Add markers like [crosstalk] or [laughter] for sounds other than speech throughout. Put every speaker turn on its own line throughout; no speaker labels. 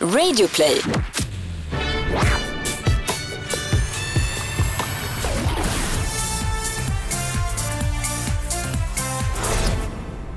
Radioplay.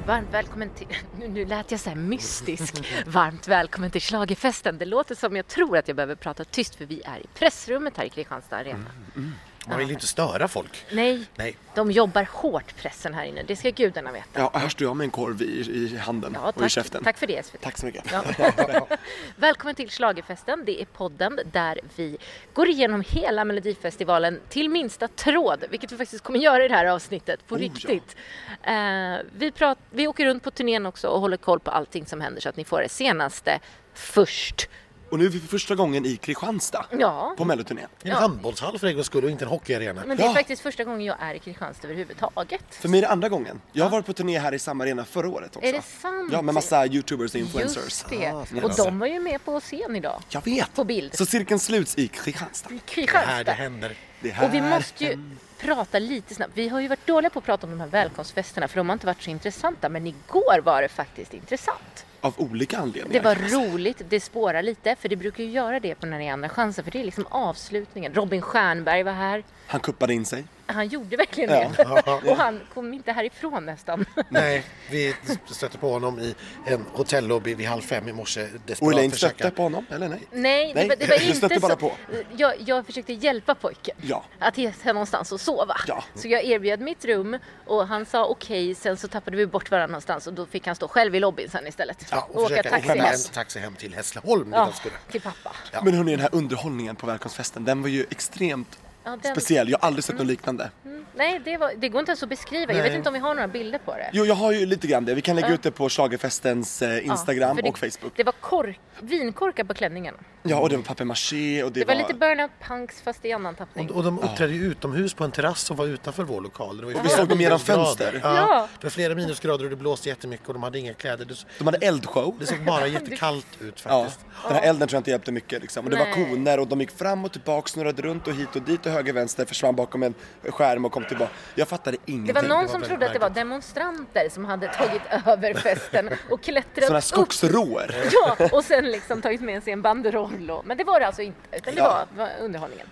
Varmt välkommen till... [laughs] Nu, nu lät jag så här mystisk. Varmt välkommen till Schlagerfesten. Det låter som jag tror att jag behöver prata tyst för vi är i pressrummet här i Kristianstad Arena.
Mm.
Man vill inte störa folk.
Nej,
Nej.
de jobbar hårt pressen här inne. Det ska gudarna veta.
Ja, här står jag med en korv i, i handen
Ja,
och i
tack,
käften.
tack för det SVT.
Tack så mycket.
Ja. Välkommen till Schlagerfesten. Det är podden där vi går igenom hela Melodifestivalen till minsta tråd, vilket vi faktiskt kommer göra i det här avsnittet på
Oh, ja.
riktigt. Eh, vi, prat, vi åker runt på turnén också och håller koll på allting som händer så att ni får det senaste först.
Och nu är vi för första gången i Kristianstad
Ja,
på melloturnén.
En handbollshall för en gångs skull och inte en hockeyarena.
men det är
Ja.
faktiskt första gången jag är i Kristianstad överhuvudtaget.
För mig är det andra gången. Jag har varit på turné här i samma arena förra året också.
Är det sant?
Ja, med massa youtubers och influencers.
Just det.
Ah,
och de var ju med på scen idag.
Jag vet!
På bild.
Så cirkeln sluts i Kristianstad.
I
Det är här det
Kristianstad. [laughs]
händer.
Det är här.
Och vi måste ju prata lite snabbt. Vi har ju varit dåliga på att prata om de här välkomstfesterna för de har inte varit så intressanta. Men igår var det faktiskt intressant.
Av olika
Det
anledningar.
var roligt, det spårar lite. För det brukar ju göra det på när det är andra chansen. För det är liksom avslutningen. Robin Stjernberg var här.
Han kuppade in sig.
Han gjorde verkligen
Ja.
det. Och han kom inte härifrån nästan.
Nej, vi stötte på honom i en hotellobby vid halv fem i morse.
Och
Desperat
Elaine
försöka.
stötte på honom, eller nej?
Nej, det
Nej,
var,
[laughs]
det var
du
inte
stötte bara
så.
på.
Jag, jag försökte hjälpa pojken
Ja.
att hitta någonstans att sova.
Ja.
Så jag erbjöd mitt rum och han sa okej, sen så tappade vi bort varandra någonstans och då fick han stå själv i lobbyn sen istället.
Ja, och försöka
taxi
hitta
hem.
en taxi hem till Hässleholm.
Ja,
Ja. Skulle.
till pappa.
Ja.
Men hörni, den här underhållningen på välkomstfesten, den var ju extremt
Ja, den- Mm.
speciell. Jag har aldrig sett något liknande.
Nej, det, var, det går inte ens att beskriva. Jag vet inte om vi har några bilder på det.
Jo, jag har ju lite grann det. Vi kan lägga ut det på schlagerfestens eh,
Ja,
Instagram
för det,
och Facebook.
Det var kork, vinkorkar på klänningarna.
Ja, och det var papier-maché och det,
Det var lite burnout punks fast i annan tappning.
Och, och de uppträdde ju utomhus på en terrass som var utanför vår lokal. Det var ju
Och vi
flera
såg dem genom
minusgrader.
fönster.
Ja.
Ja.
Det var flera minusgrader och det blåste jättemycket och de hade inga kläder. Det,
De hade eldshow.
[laughs]
det såg bara jättekallt ut
Ja,
faktiskt.
den här elden tror jag inte hjälpte mycket liksom. Och det
Nej.
var koner och de gick fram och tillbaka, snurrade runt och hit och dit och höger, vänster, försvann bakom en skärm och kom tillbaka. Jag fattade
Det
ingenting.
var någon
var
som
väldigt
trodde att det var demonstranter som hade tagit [laughs] över festen och
Sådana här
klättrat upp
skogsråer.
Ja, och sen liksom tagit med sig en banderoll. och- Men det var det alltså inte, utan det
Ja.
var, var underhållningen.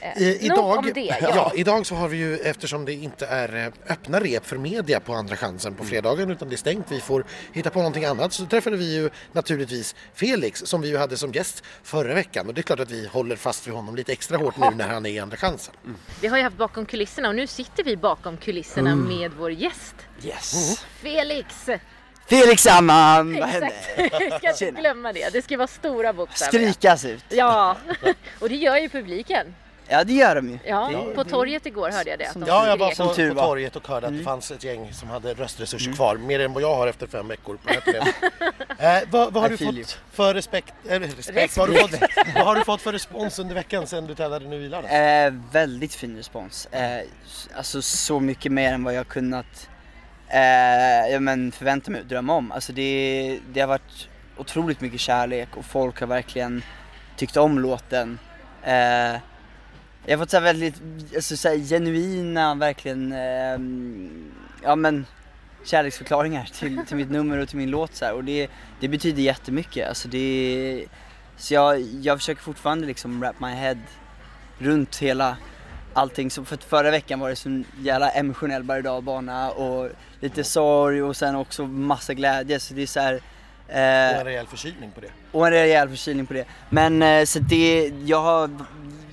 Eh,
I,
Nog
idag,
om det.
ja.
Ja.
idag så har vi ju, eftersom det inte är eh, öppna rep för media på Andra chansen på fredagen utan det är stängt, vi får hitta på någonting annat, så träffade vi ju naturligtvis Felix som vi ju hade som gäst förra veckan och det är klart att vi håller fast vid honom lite extra hårt nu när han är i Andra chansen.
Vi har ju haft bakom kulisserna och nu sitter vi bakom kulisserna med vår gäst
Yes.
Felix.
Felix Amman, vad hände?
Exakt. [laughs] Jag ska inte
Tjena.
glömma det. Det ska vara stora bokstäver.
Skrikas ut.
Ja, [laughs] och det gör ju publiken.
Ja det gör de ju.
Ja,
Det-
på
det-
torget igår hörde jag det. att
Som-
de
Ja, jag
skrek.
var på,
tur
på
var.
torget och hörde att
Mm.
det fanns ett gäng som hade röstresurser kvar, mer än vad jag har efter fem veckor på [laughs] rätt eh, vad, vad har du
I feel you.
fått för respekt, eller respekt, Vad, har du fått, vad har du fått för respons under veckan sedan du tävlade nu i lördags?
Eh, väldigt fin respons. Eh, s- alltså så mycket mer än vad jag kunnat eh, ja, men förvänta mig och drömma om. Alltså det, det har varit otroligt mycket kärlek och folk har verkligen tyckt om låten. Eh, jag har fått så här väldigt alltså, så här, genuina, verkligen, ehm, ja men kärleksförklaringar [laughs] till, till mitt nummer och till min låt så här. och det, det betyder jättemycket. Alltså det, så jag, jag försöker fortfarande liksom wrap my head runt hela allting. Så för att förra veckan var det sån jävla emotionell berg och dalbana och lite sorg och sen också massa glädje så det är så här, eh,
Och en rejäl förkylning på det.
och en rejäl förkylning på det. Men eh, så det, jag har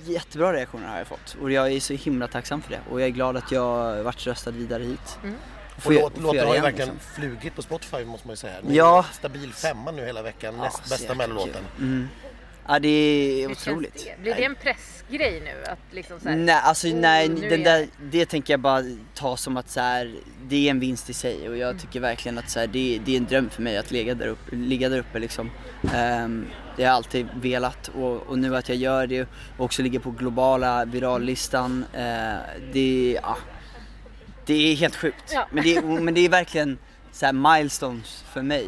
jättebra reaktioner har jag fått och jag är så himla tacksam för det och jag är glad att jag varit röstad vidare hit. Och
Och
gö-
låt,
får
låten
göra
har ju
igen,
verkligen
liksom.
flugit på Spotify måste man ju säga.
Ja.
Stabil femma nu hela veckan,
Ja,
näst
så
bästa
jäkla
mellolåten.
kul. Mm. Ja det är
Hur känns
otroligt.
det? Blir det en pressgrej nu? Att liksom så här,
Nej, alltså
"Oh,
nej,
nu
den
är jag
där, det tänker jag bara ta som att så här, det är en vinst i sig och jag
Mm.
tycker verkligen att så här, det, det är en dröm för mig att ligga där uppe. Ligga där uppe liksom. Ehm, det har jag alltid velat och, och nu att jag gör det och också ligger på globala virallistan, eh, det, ja, det är helt sjukt.
Ja.
Men, det, men det är verkligen så här milestones för mig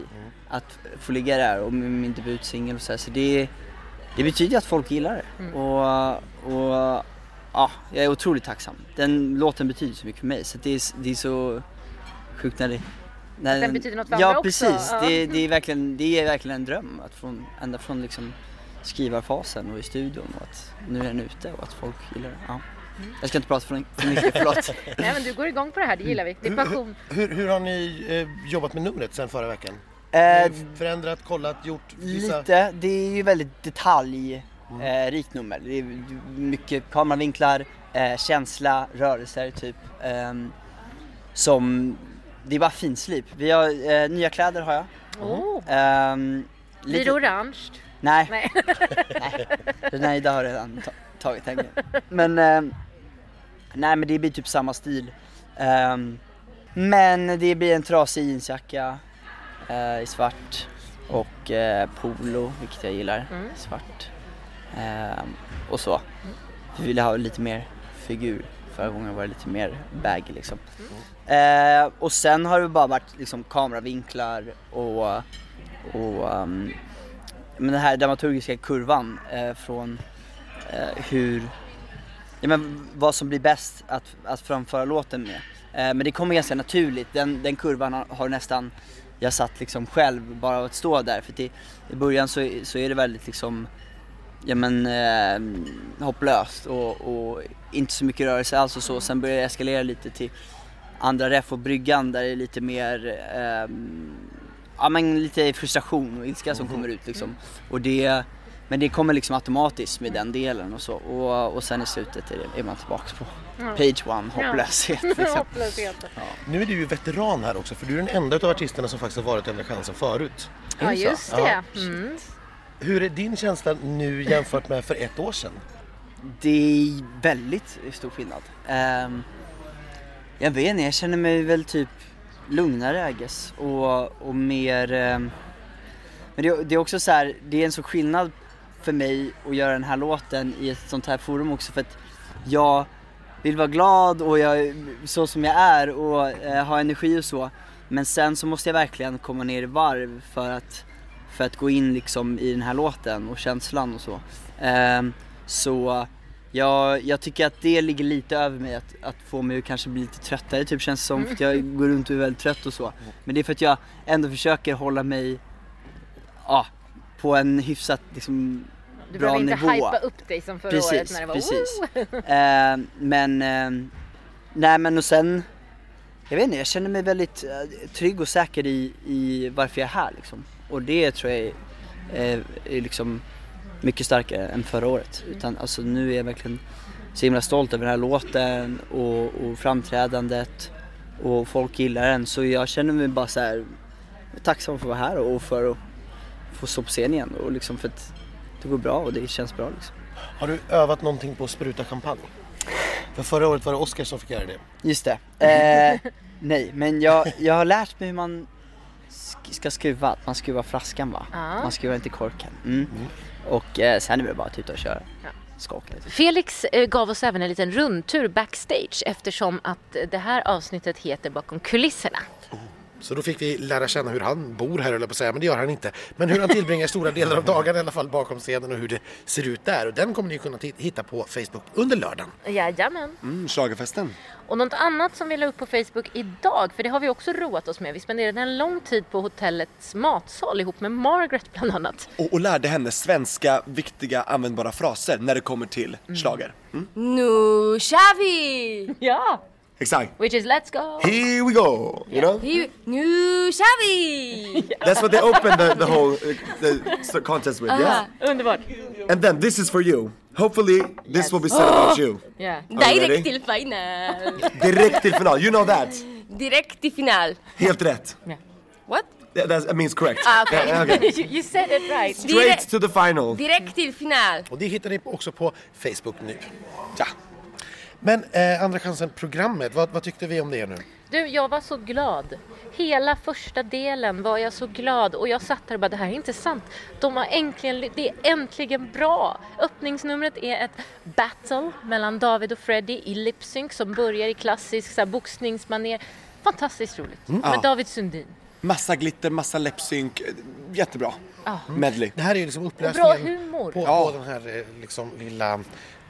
att få ligga där och med min debutsingel och så här. Så det, det betyder att folk gillar det.
Mm.
Och, och ja, jag är otroligt tacksam. Den låten betyder så mycket för mig så det är, det är så sjukt när det Nej,
den betyder något för
Ja
andra
precis,
också.
Det, det, är verkligen, det är verkligen en dröm. Att från, ända från liksom skrivarfasen och i studion och att nu är den ute och att folk gillar den. Ja. Jag ska inte prata för
[laughs]
för mycket, förlåt.
Mm. Nej, men du går igång på det här, det gillar vi. Det är passion.
Hur, hur har ni eh, jobbat med numret sen förra veckan?
Eh,
Eh, Förändrat, kollat, gjort vissa...
Lite, det är ju väldigt detaljrikt nummer. Det är mycket kameravinklar, eh, känsla, rörelser typ. ehm, som, det är bara finslip. Vi har, eh, nya kläder har jag.
Oh,
Ehm,
blir det orange?
Nej.
Nej.
Nej, det har jag redan ta-
[laughs]
tagit tänker jag. Men, ehm, nej men det blir typ samma stil. Ehm, men det blir en trasig jeansjacka eh, i svart och eh, polo, vilket jag gillar,
Mm.
svart. Ehm, och så. Vi ville ha lite mer figur. Förra gången var det lite mer bag liksom.
Mm.
Eh, och sen har det bara varit liksom kameravinklar och, och ehm, men den här dramaturgiska kurvan eh, från eh, hur, ja, men vad som blir bäst att, att framföra låten med. Eh, men det kommer ganska naturligt, den, den kurvan har, har nästan, jag satt liksom själv bara av att stå där. För det, i början så, så är det väldigt liksom, ja men eh, hopplöst och, och inte så mycket rörelse alls och så. Sen börjar det eskalera lite till andra ref och bryggan där det är lite mer ehm, ja, men lite frustration och ilska som kommer ut liksom. Och det, men det kommer liksom automatiskt med den delen och så. Och, och sen i slutet är, det, är man tillbaks på page one, hopplöshet. Liksom.
Hopplösheten.
Nu är du ju veteran här också för du är den enda utav artisterna som faktiskt har varit i Andra chansen förut.
Ja, just det.
Ja.
Mm.
Hur är din känsla nu jämfört med för ett år sedan?
Det är väldigt stor skillnad. Ehm, jag vet inte, jag känner mig väl typ lugnare I guess. Och, och mer... ehm, men det, det är också så här, det är en sån skillnad för mig att göra den här låten i ett sånt här forum också för att jag vill vara glad och jag, så som jag är och eh, ha energi och så. Men sen så måste jag verkligen komma ner i varv för att, för att gå in liksom i den här låten och känslan och så. Ehm, så jag, jag tycker att det ligger lite över mig att, att få mig att kanske bli lite tröttare typ känns det som för att jag går runt och är väldigt trött och så. Men det är för att jag ändå försöker hålla mig ja, på en hyfsat liksom,
Du
bra
behöver inte
nivå.
hypa upp dig som förra året när det var
precis.
"Woo!" [laughs]
Eh, men, eh, nej men och sen, jag vet inte, jag känner mig väldigt eh, trygg och säker i, i varför jag är här liksom. Och det tror jag är, är, är liksom mycket starkare än förra året.
Mm.
Utan alltså nu är jag verkligen så himla stolt över den här låten och, och framträdandet och folk gillar den. Så jag känner mig bara så här tacksam för att vara här och för att få stå på scen igen och liksom för att det går bra och det känns bra liksom.
Har du övat någonting på att spruta champagne? För förra året var det Oscar som fick göra det.
Just det. Eh, nej, men jag, jag har lärt mig hur man sk- ska skruva. Att Man skruvar flaskan va?
Ja.
Man skruvar inte korken. Mm. Och eh, sen är det bara att tuta och köra. Skaka lite.
Felix eh, gav oss även en liten rundtur backstage eftersom att eh, det här avsnittet heter Bakom kulisserna.
Så då fick vi lära känna hur han bor här, höll jag på att säga, men det gör han inte. Men hur han tillbringar stora delar av dagarna i alla fall bakom scenen och hur det ser ut där. Och den kommer ni kunna ti- hitta på Facebook under lördagen.
Jajamän.
Mm, schlagerfesten.
Och något annat som vi la upp på Facebook idag, för det har vi också roat oss med. Vi spenderade en lång tid på hotellets matsal ihop med Margaret bland annat.
Och, och lärde henne svenska viktiga användbara fraser när det kommer till schlager. Mm.
Nu kör vi!
Ja!
Exakt.
Which is let's go!
Here we go! You know?
Here- Nu kör vi!
That's what they open the, the whole uh, the s- contest with, yeah?
Underbart!
And then this is for you. Hopefully this will be said about you. [gasps]
Yeah.
Direkt
ready?
till final!
Direkt till final, you know that!
Direkt till final!
Helt rätt.
What?
That, that means correct.
Ah, okej.
Yeah,
[laughs]
okay.
You, you said it right!
Straight to the final.
Direkt till final!
Och det hittar ni också på Facebook nu.
Ja.
Men eh, Andra chansen-programmet, vad, vad tyckte vi om det nu?
Du, jag var så glad. Hela första delen var jag så glad och jag satt där och bara, det här är inte sant. De har äntligen, ly- det är äntligen bra. Öppningsnumret är ett battle mellan David och Freddy i lipsync som börjar i klassisk så här, boxningsmanér. Fantastiskt roligt. Med David Sundin.
Massa glitter, massa läppsynk. Jättebra. Mm. Medley.
Ah.
Det här är ju liksom
Och bra
upplösningen
humor.
på,
Ja.
på den här eh, liksom lilla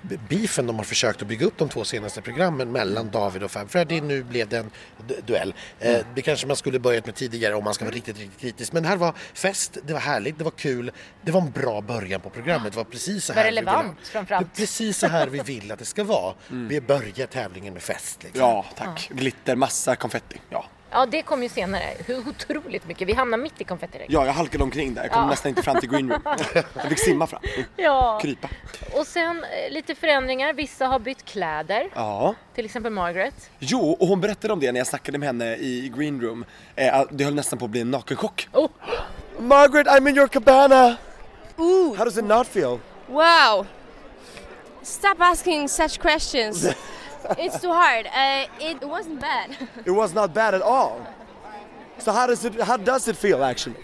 b- beefen de har försökt att bygga upp de två senaste programmen mellan David och Fab Freddy. Nu blev det en d- duell. Eh,
Mm.
det kanske man skulle börjat med tidigare om man ska vara riktigt, riktigt kritisk. Men det här var fest, det var härligt, det var kul. Det var en bra början på programmet. Det var precis så
Var
här vi
relevant
vill.
framförallt.
Det är precis så här vi vill att det ska vara. Vi börjar tävlingen med fest. Liksom.
Mm. Ja,
Ah.
tack. Glitter, massa konfetti. Ja.
Ja, det kom ju senare. Hur otroligt mycket. Vi hamnar mitt i konfettiregnet.
ja, jag halkade omkring där. Jag
Ah.
kom nästan inte fram till green
[laughs]
room. Jag fick simma fram.
Ja.
Krypa.
Och sen eh, lite förändringar. Vissa har bytt kläder.
Ja.
Till exempel Margaret.
Jo, och hon berättade om det när jag snackade med henne i green room. Eh, det höll nästan på att bli en nakenchock.
Oh.
Margaret, I'm in your cabana!
Ooh,
How does it not feel?
wow. Stop asking
[laughs]
such questions. it's too hard. Uh, it wasn't bad.
It was not bad at all. So how does it, how does it feel actually?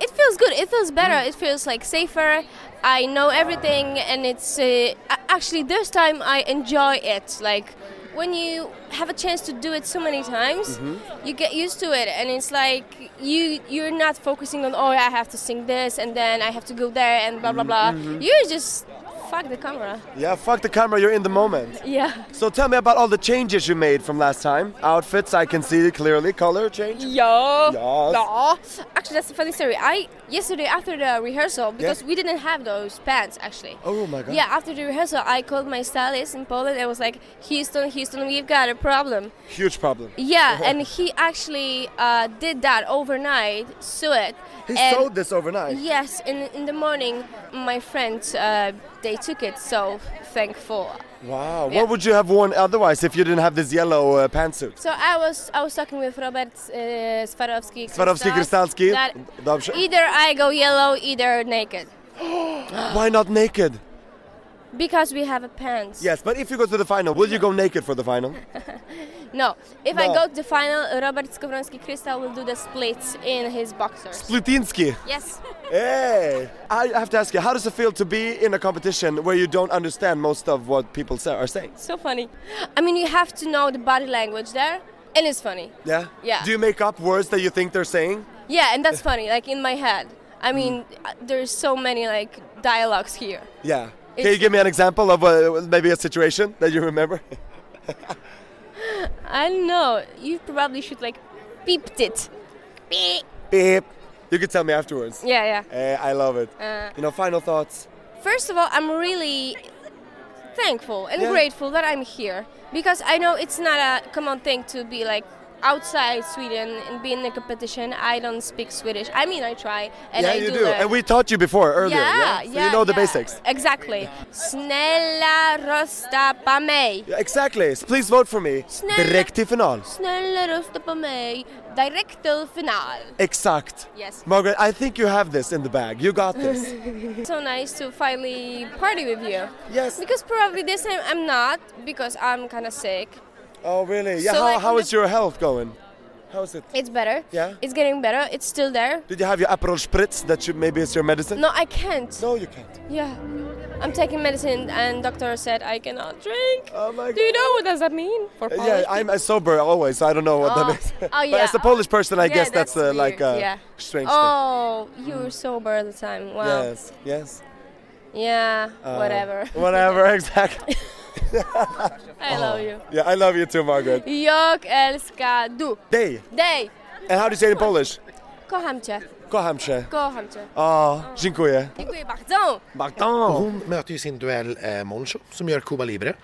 It feels good. It feels better. It feels like safer. I know everything, and it's uh, a- actually this time I enjoy it. Like when you have a chance to do it so many times, you get used to it, and it's like you you're not focusing on oh I have to sing this and then I have to go there and blah blah blah. You're just fuck the camera.
Yeah, fuck the camera, you're in the moment.
Yeah.
So tell me about all the changes you made from last time. Outfits, I can see clearly, color change.
Yeah.
Yes.
Yeah. Actually, that's a funny story. I yesterday after the rehearsal because we didn't have those pants actually.
Oh my god.
Yeah, after the rehearsal, I called my stylist in Poland and was like, Houston, Houston, we've got a problem.
Huge problem.
Yeah,
Uh-huh.
and he actually uh, did that overnight, sew it.
He
and
sewed this overnight.
Yes, in, in the morning, my friends, uh, they took it, so thankful.
Wow.
Yeah.
What would you have worn otherwise if you didn't have this yellow uh, pantsuit?
So I was I was talking with Robert uh, Swarovski.
Swarovski Kristalski.
that
Dobrze.
Either I go yellow, either naked.
Why not naked?
Because we have a pants.
Yes, but if you go to the final, will you go naked for the final?
No, if I
No.
go to the final, Robert Skowronski Crystal will do the splits in his boxers.
Plutinski.
Yes. [laughs]
Hey! I have to ask you, how does it feel to be in a competition where you don't understand most of what people say, are saying?
So funny. I mean, you have to know the body language there, and it's funny.
Yeah?
Yeah.
Do you make up words that you think they're saying?
Yeah, and that's funny, like in my head. I mean, uh, there's so many like dialogues here.
Yeah. Can
It's-
you give me an example of uh, maybe a situation that you remember?
I don't know. You probably should like beeped it. Beep.
[laughs] Beep. You could tell me afterwards.
Yeah, yeah.
Eh, I love it.
Uh,
You know, final thoughts.
First of all, I'm really thankful and
Yeah.
grateful that I'm here because I know it's not a common thing to be like outside Sweden and be in a competition. I don't speak Swedish. I mean, I try and
yeah,
I
you
do.
do.
learn.
And we taught you before earlier.
yeah,
Yeah. So you know the
yeah.
basics.
Exactly. Snälla rösta på mig.
Yeah, exactly. Please vote for me.
Snälla.
Direkt till final.
Snälla rösta på mig. Direkt till final.
Exakt.
Yes.
Margaret, I think you have this in the bag. You got [laughs] this.
So nice to finally party with you.
yes.
Because probably this time I'm not because I'm kind of sick.
Oh, really? Yeah.
So
how,
I can
how is
just-
your health going? How is it?
It's better.
Yeah.
It's getting better. It's still there.
Did you have your Aperol Spritz that you, maybe is your medicine?
No, I can't.
No, you can't.
Yeah. I'm taking medicine and doctor said I cannot drink.
Oh my
Do you know what does that mean for Polish?
Yeah, I'm a sober always, so I don't know what that
Oh.
means.
Oh,
[laughs] But
yeah.
as a Polish person, I
Yeah,
guess that's,
that's
uh, like
weird.
a
Yeah.
strange
Oh, you were sober at the time.
thing.
Wow.
Yes, yes.
Yeah,
Uh,
whatever.
[laughs]
[laughs]
Whatever, exactly.
I love you.
Yeah, I love you too, Margaret.
Jag älskar du
Day.
dig.
And how do you say it in Polish?
Kocham cię.
Kocham cię.
Kocham cię.
Oh, dziękuję.
Dziękuję bardzo.
Barton.
Hon möter ju sin duell eh, Moncho som gör Cuba Libre.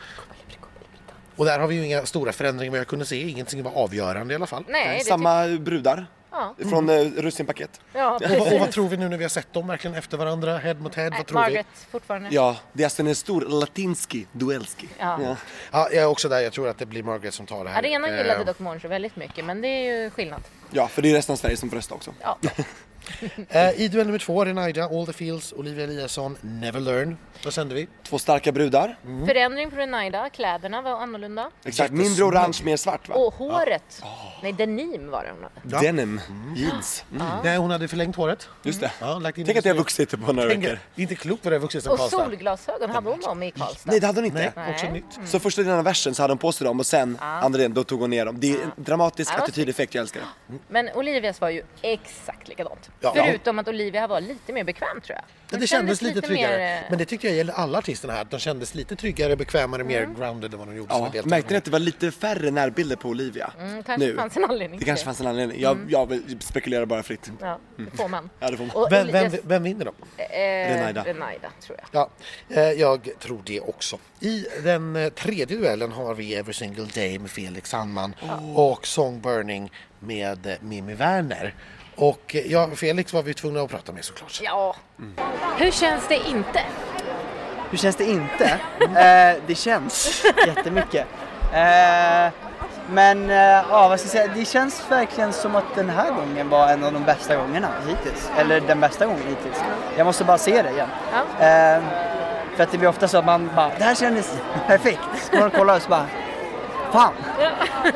Och där har vi ju inga stora förändringar vad jag kunde se. Ingenting var avgörande i alla fall.
Nej, det tycker
Samma brudar
Ja.
från eh, Russinpaket.
jag. Ja,
Och, vad- och vad tror vi nu när vi har sett dem verkligen efter varandra, head mot head? Vad tror
Margaret fortfarande.
Ja, det är alltså en stor latinski duelski.
Ja.
vi? Ja, jag är också där. Jag tror att det blir Margaret som tar det här.
Arenan
Eh,
gillade dock Moncho väldigt mycket, men det är ju skillnad.
Ja, för det är resten av Sverige som får rösta också.
Ja.
eh, I duell nummer två, Renaida, All the Fields, Olivia Eliasson, Never Learn. Vad sände vi?
Två starka brudar.
Förändring på Renaida, kläderna var annorlunda.
Exakt, mindre orange, mer svart va?
Och håret.
Ah.
Nej, denim var det hon hade.
Ja.
Denim, jeans. Mm.
Nej, hon hade förlängt håret.
Just det.
Mm.
Ja, lagt in
Tänk att jag har vuxit på några
Tänk,
veckor.
det är inte klokt vad det har vuxit sen
Och
Karlstad.
solglasögon hade hon om i Karlstad.
Nej, det hade hon inte.
Nej,
Nej.
också nytt.
Så första delen av versen så hade hon på sig dem och sen andra delen, då tog hon ner dem. Det är en dramatisk
Ja, det var
attitydeffekt, jag älskar det.
Men Olivias var ju exakt likadant.
Ja, ja.
Förutom att Olivia var lite mer bekväm tror jag.
Men
Hon
det kändes lite tryggare.
mer, eh,
Men det tyckte jag gällde alla artisterna här. De kändes lite tryggare, bekvämare,
Mm.
mer grounded än vad de gjorde som
Ja,
deltagare.
märkte ni att det var lite färre närbilder på Olivia?
mm, kanske
nu.
fanns en anledning
Det
till
kanske fanns en anledning. Jag, jag vill- spekulerar bara fritt.
Ja, det får man.
Ja, det får man.
Mm. Och
Vem, vem,
Elias-
vem vinner då?
eh,
Renaida.
Renaida tror jag.
Ja, eh, jag tror det också. I den eh, tredje duellen har vi Every Single Day med Felix Sandman och Song Burning med eh, Mimmi Werner. Och eh, ja, Felix var vi tvungna att prata med såklart.
Ja.
Mm.
Hur känns det inte? [laughs]
Hur känns det inte? eh, det känns jättemycket. Eh, men eh, ja, vad ska jag säga? Det känns verkligen som att den här gången var en av de bästa gångerna hittills. Eller den bästa gången hittills. Jag måste bara se det igen.
Ja.
Eh, för att det blir ofta så att man bara, det här kändes perfekt. Så man kollar och så bara, fan.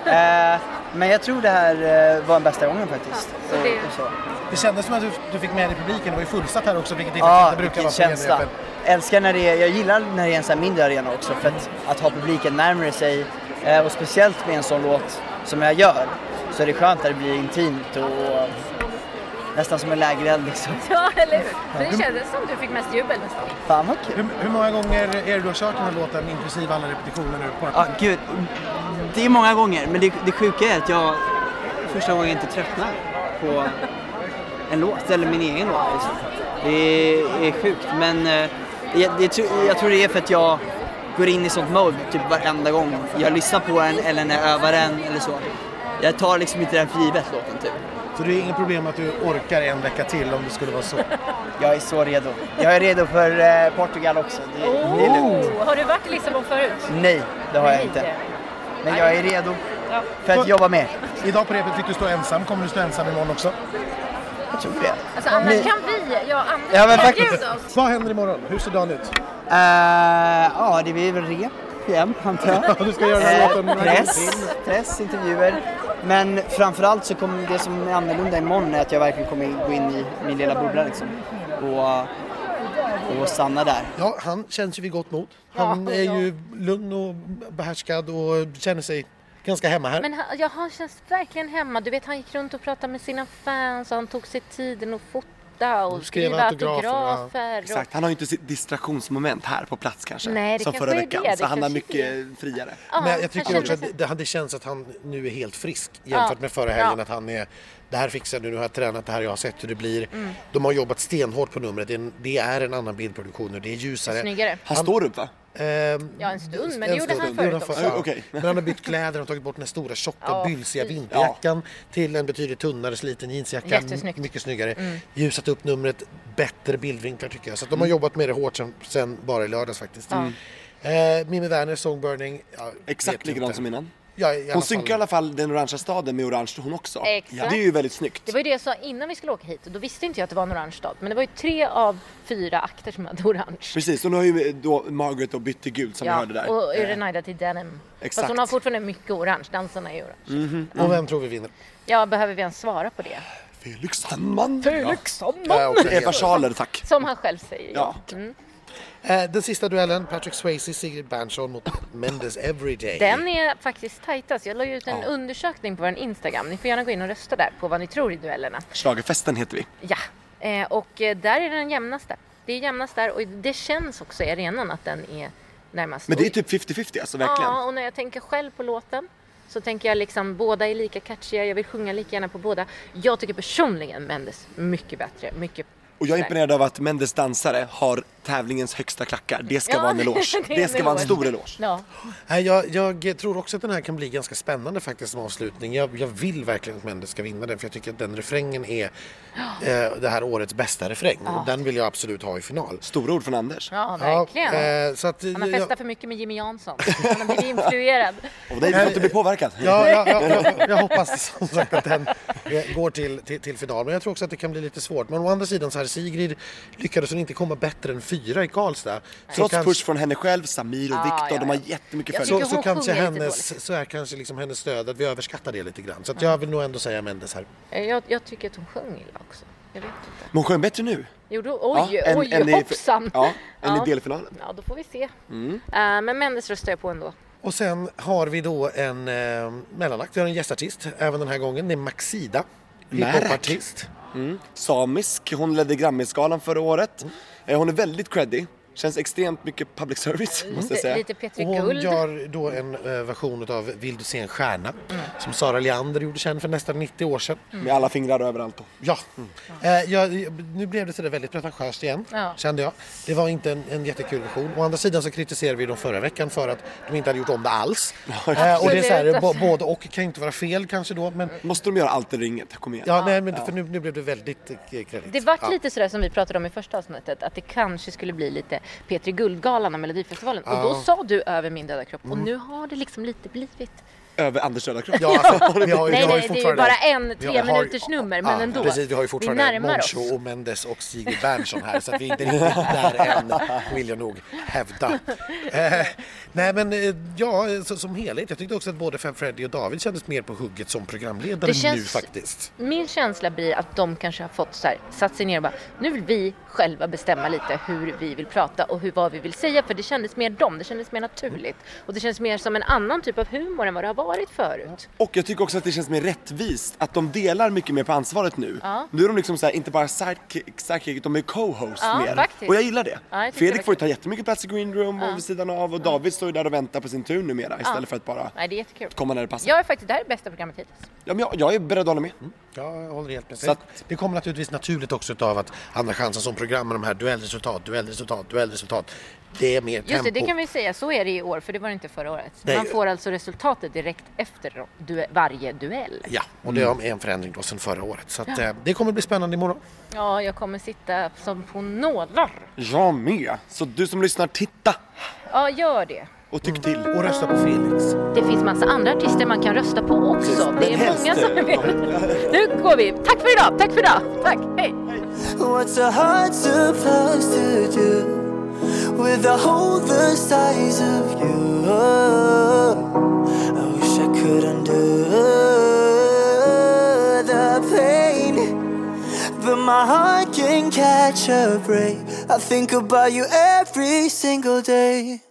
eh, men jag tror det här eh, var den bästa gången faktiskt.
så det-
Och- och så.
Det kändes som att du, du fick med dig publiken. Det var ju fullsatt här också, vilket det
Ja,
faktiskt
vilken
på
känsla.
genrepen.
Älskar när det är, jag gillar när det är en sån här mindre arena också för att, att ha publiken närmare sig eh, och speciellt med en sån låt som jag gör så är det skönt när det blir intimt och nästan som en lägereld liksom.
Ja, eller hur? För det kändes som du fick mest jubel nästan.
Fan vad kul.
Hur, hur många gånger är det du har kört den här låten inklusive alla repetitioner nu? Bara-
Ja, gud. Det är många gånger men det, det sjuka är att jag första gången inte tröttnar på en låt eller min egen låt. Liksom. Det är, är sjukt men eh, jag, det, tror- jag tror det är för att jag går in i sånt mode typ varenda gång jag lyssnar på den eller när jag övar den eller så. Jag tar liksom inte den för givet låten typ.
Så det är inget problem att du orkar en vecka till om det skulle vara så?
Jag är så redo. Jag är redo för eh, Portugal också. Det, det är lugnt.
Oh, har du varit i Lissabon förut?
Nej, det har jag inte. Men jag är redo för att jobba med.
Idag på repet fick du stå ensam. Kommer du stå ensam imorgon också?
Jag tror det.
Alltså annars
Ni-
kan vi, ja alltså. annars
Ja, men
kan
faktiskt.
bjuda oss.
Vad händer imorgon? Hur ser dagen ut?
Eh, ja, det blir väl rep igen, antar jag.
Du ska göra den här
Eh,
låten några gånger till.
press, press, intervjuer. Men framförallt så kommer det som är annorlunda imorgon är att jag verkligen kommer gå in i min lilla bubbla liksom. Och, och stanna där.
Ja, han känns ju vid gott mod. Han
Ja,
är
ja.
ju lugn och behärskad och känner sig ganska hemma här.
Men han, ja, han känns verkligen hemma. Du vet, han gick runt och pratade med sina fans och han tog sig tiden att fota och
skrev
skriva
autografer,
autografer.
ja.
och...
Exakt, han har ju inte sitt distraktionsmoment här på plats kanske.
Nej, det
som
kanske
förra
är
veckan.
det. Det
så han har
kanske
mycket friare.
Ja,
Men
han
jag tycker
kände
också
sig-
att det, han- det känns att han nu är helt frisk jämfört
Ja.
med förra helgen.
Ja.
Att han är, det här fixar du, nu har jag tränat det här, jag har sett hur det blir.
Mm.
De har jobbat stenhårt på numret. Det är en, det är en annan bildproduktion nu, det är ljusare.
Snyggare.
Han står upp va?
Ehm,
Ja, en stund, men
en
det gjorde
stund.
han förut
Gjorde
också.
förut.
Ja, okej.
Men han har bytt kläder, han har tagit bort den här stora tjocka
Ja,
bylsiga
fy.
vinterjackan till en betydligt tunnare sliten jeansjacka.
Jättesnyggt. Mm.
Mycket snyggare. Ljusat upp numret, bättre bildvinklar tycker jag. Så att de har jobbat med det hårt sen, sen bara i lördags faktiskt. Mm. Eh, Mimmi Werner, Songburning. Ja,
Exakt
vet
likadant
inte.
som innan.
Ja, i alla
Hon
fall.
synkar i alla fall den orangea staden med orange hon också.
Exakt.
Det är ju väldigt snyggt.
Det var ju det jag sa innan vi skulle åka hit. Då visste inte jag att det var en orange stad. Men det var ju tre av fyra akter som hade orange.
Precis, och nu har ju då Margaret då bytt till gult som vi hörde där. Eh.
och Renaida till denim.
Exakt. Mm.
Fast hon har fortfarande mycket orange. Dansarna är orange.
Och vem tror vi vinner?
Ja, behöver vi ens svara på det?
Felix Sandman!
Ja, jag också
Mm. Ja. Eva
helt.
Schaler, tack.
Som han själv säger.
Ja.
Eh, den sista duellen, Patrick Swayze, Sigrid Bernson mot Mendes Everyday.
Mm.
Den är faktiskt tajtast. Jag la ju ut en undersökning på vår Instagram. Ni får gärna gå in och rösta där på vad ni tror i duellerna.
Schlagerfesten heter vi.
Ja, eh, och eh, där är den jämnaste. Det är jämnast där och det känns också i arenan att den är närmast.
Men det är typ 50-50 alltså, verkligen.
Ja, och när jag tänker själv på låten så tänker jag liksom båda är lika catchiga, jag vill sjunga lika gärna på båda. Jag tycker personligen Mendes mycket bättre, mycket
Och jag är imponerad av att Mendes dansare har tävlingens högsta klackar. Det ska
Ja,
vara en eloge.
[laughs] det
Det,
är en
ska vara en
eloge.
stor eloge.
Ja,
Nej, Eh, jag, jag tror också att den här kan bli ganska spännande faktiskt som avslutning. Jag, jag vill verkligen att Mendes ska vinna den för jag tycker att den refrängen är eh, det här årets bästa refräng. Och Den vill jag absolut ha i final.
Stora ord från Anders.
ja verkligen.
Ja, eh, så att,
han har
jag,
festat för mycket med Jimmy Jansson.
[laughs]
Han har blivit influerad.
Och dig, du får inte bli påverkad.
ja, ja, ja,
[laughs]
jag, jag hoppas som sagt att den eh, går till, till, till final. Men jag tror också att det kan bli lite svårt. Men å andra sidan så här, Sigrid lyckades hon inte komma bättre än fyra i Karlstad. Så
Trots
kanske-
push från henne själv, Samir och
Ah,
Viktor,
ja,
de har
ja.
jättemycket
Jag
följare.
Så,
tycker
så
hon
kanske
sjunger lite
hennes, så är kanske liksom hennes stöd att vi överskattar det lite grann. Så att jag vill nog ändå säga Mendes här.
Eh, Jag, jag tycker att hon sjöng illa också. Jag vet inte.
Men hon sjöng bättre nu.
Gjorde hon? Oj,
Ja, än-
oj,
än i-
hoppsan!
Ja, än i delfinalen.
Ja, då får vi se.
Mm.
Eh, men Mendes röstar jag på ändå.
Och sen har vi då en eh, mellanakt, vi har en gästartist även den här gången, det är Maxida. hiphopartist.
Samisk, hon ledde Grammisgalan förra året. Eh, Hon är väldigt creddig. Känns extremt mycket public service, måste jag
Lite,
säga.
lite Petri
Och hon
Guld.
gör då en eh, version av Vill du se en stjärna?
Mm.
Som Sara Leander gjorde känd för nästan 90 år sedan.
Med alla fingrar och överallt. På.
Ja. Eh, jag, nu blev det sådär väldigt pretentiöst igen,
Ja.
kände jag. Det var inte en, en jättekul version. Å andra sidan så kritiserade vi dem förra veckan för att de inte hade gjort om det alls. Eh, och det är så här,
Absolut.
bo, både och kan ju inte vara fel kanske då. Men,
Måste de göra allt eller inget? Kom igen.
ja, nej, men för nu, nu blev det väldigt eh, kreddigt.
Det vart lite sådär som vi pratade om i första avsnittet, att det kanske skulle bli lite Petri Guld-galan av Melodifestivalen. Och då sa du över min döda kropp och
Mm.
nu har det liksom lite blivit.
Över Anders Röda Kropp.
Ja, alltså, vi har ju, vi
Nej,
har ju
nej, det är ju
fortfarande-
bara en
vi har- har
tre
ju-
minuters nummer, men
Ja,
ändå.
Precis, vi har ju fortfarande
närmar oss.
Moncho och Mendes och Sigrid Bernson här så att vi är inte riktigt där än vill jag nog hävda. Eh, nej men eh, ja, eh, så, som helhet. Jag tyckte också att både Fem Freddy och David kändes mer på hugget som programledare
Det känns-
nu faktiskt.
Min känsla blir att de kanske har fått så här, satt sig ner och bara, nu vill vi själva bestämma lite hur vi vill prata och hur, vad vi vill säga, för det kändes mer dem, det kändes mer naturligt. Och det känns mer som en annan typ av humor än vad det har varit förut.
Och jag tycker också att det känns mer rättvist att de delar mycket mer på ansvaret nu.
Ja.
Nu är de liksom så här, inte bara sidekick, sidekick de är co-hosts
Ja,
mer.
faktiskt.
Och jag gillar det.
Ja, jag tycker
Fredrik
det
får ju ta jättemycket plats i green room och vid sidan av och David står ju där och väntar på sin tur numera istället för att bara
Nej, det är jättekul.
komma när det passar. Ja.
Jag är faktiskt, det här är bästa programmet hittills.
men jag, jag är beredd att hålla med.
Mm.
Ja, jag håller helt med.
Så att-
Det kommer naturligtvis naturligt också av att Andra chansen som program med de här duellresultat, duellresultat, duellresultat. Det är mer
Just
tempo.
det, det kan vi säga, så är det i år, för det var det inte förra året.
Nej.
Man får alltså resultatet direkt efter due- varje duell.
Ja, och det är en förändring då sedan förra året. Så att, eh, det kommer bli spännande imorgon.
Ja, jag kommer sitta som på nålar.
Jag med. Så du som lyssnar, titta
Ja, gör det.
och
Mm.
tyck till.
Och rösta på Felix.
Det finns massa andra artister man kan rösta på också. Det är
helst,
många som
eh,
vill. Nu går vi. Tack för idag, tack för idag. Tack, hej.
What's a heart supposed to do with a hole the size of you? I wish I could undo the pain, but my heart can catch a break. I think about you every single day.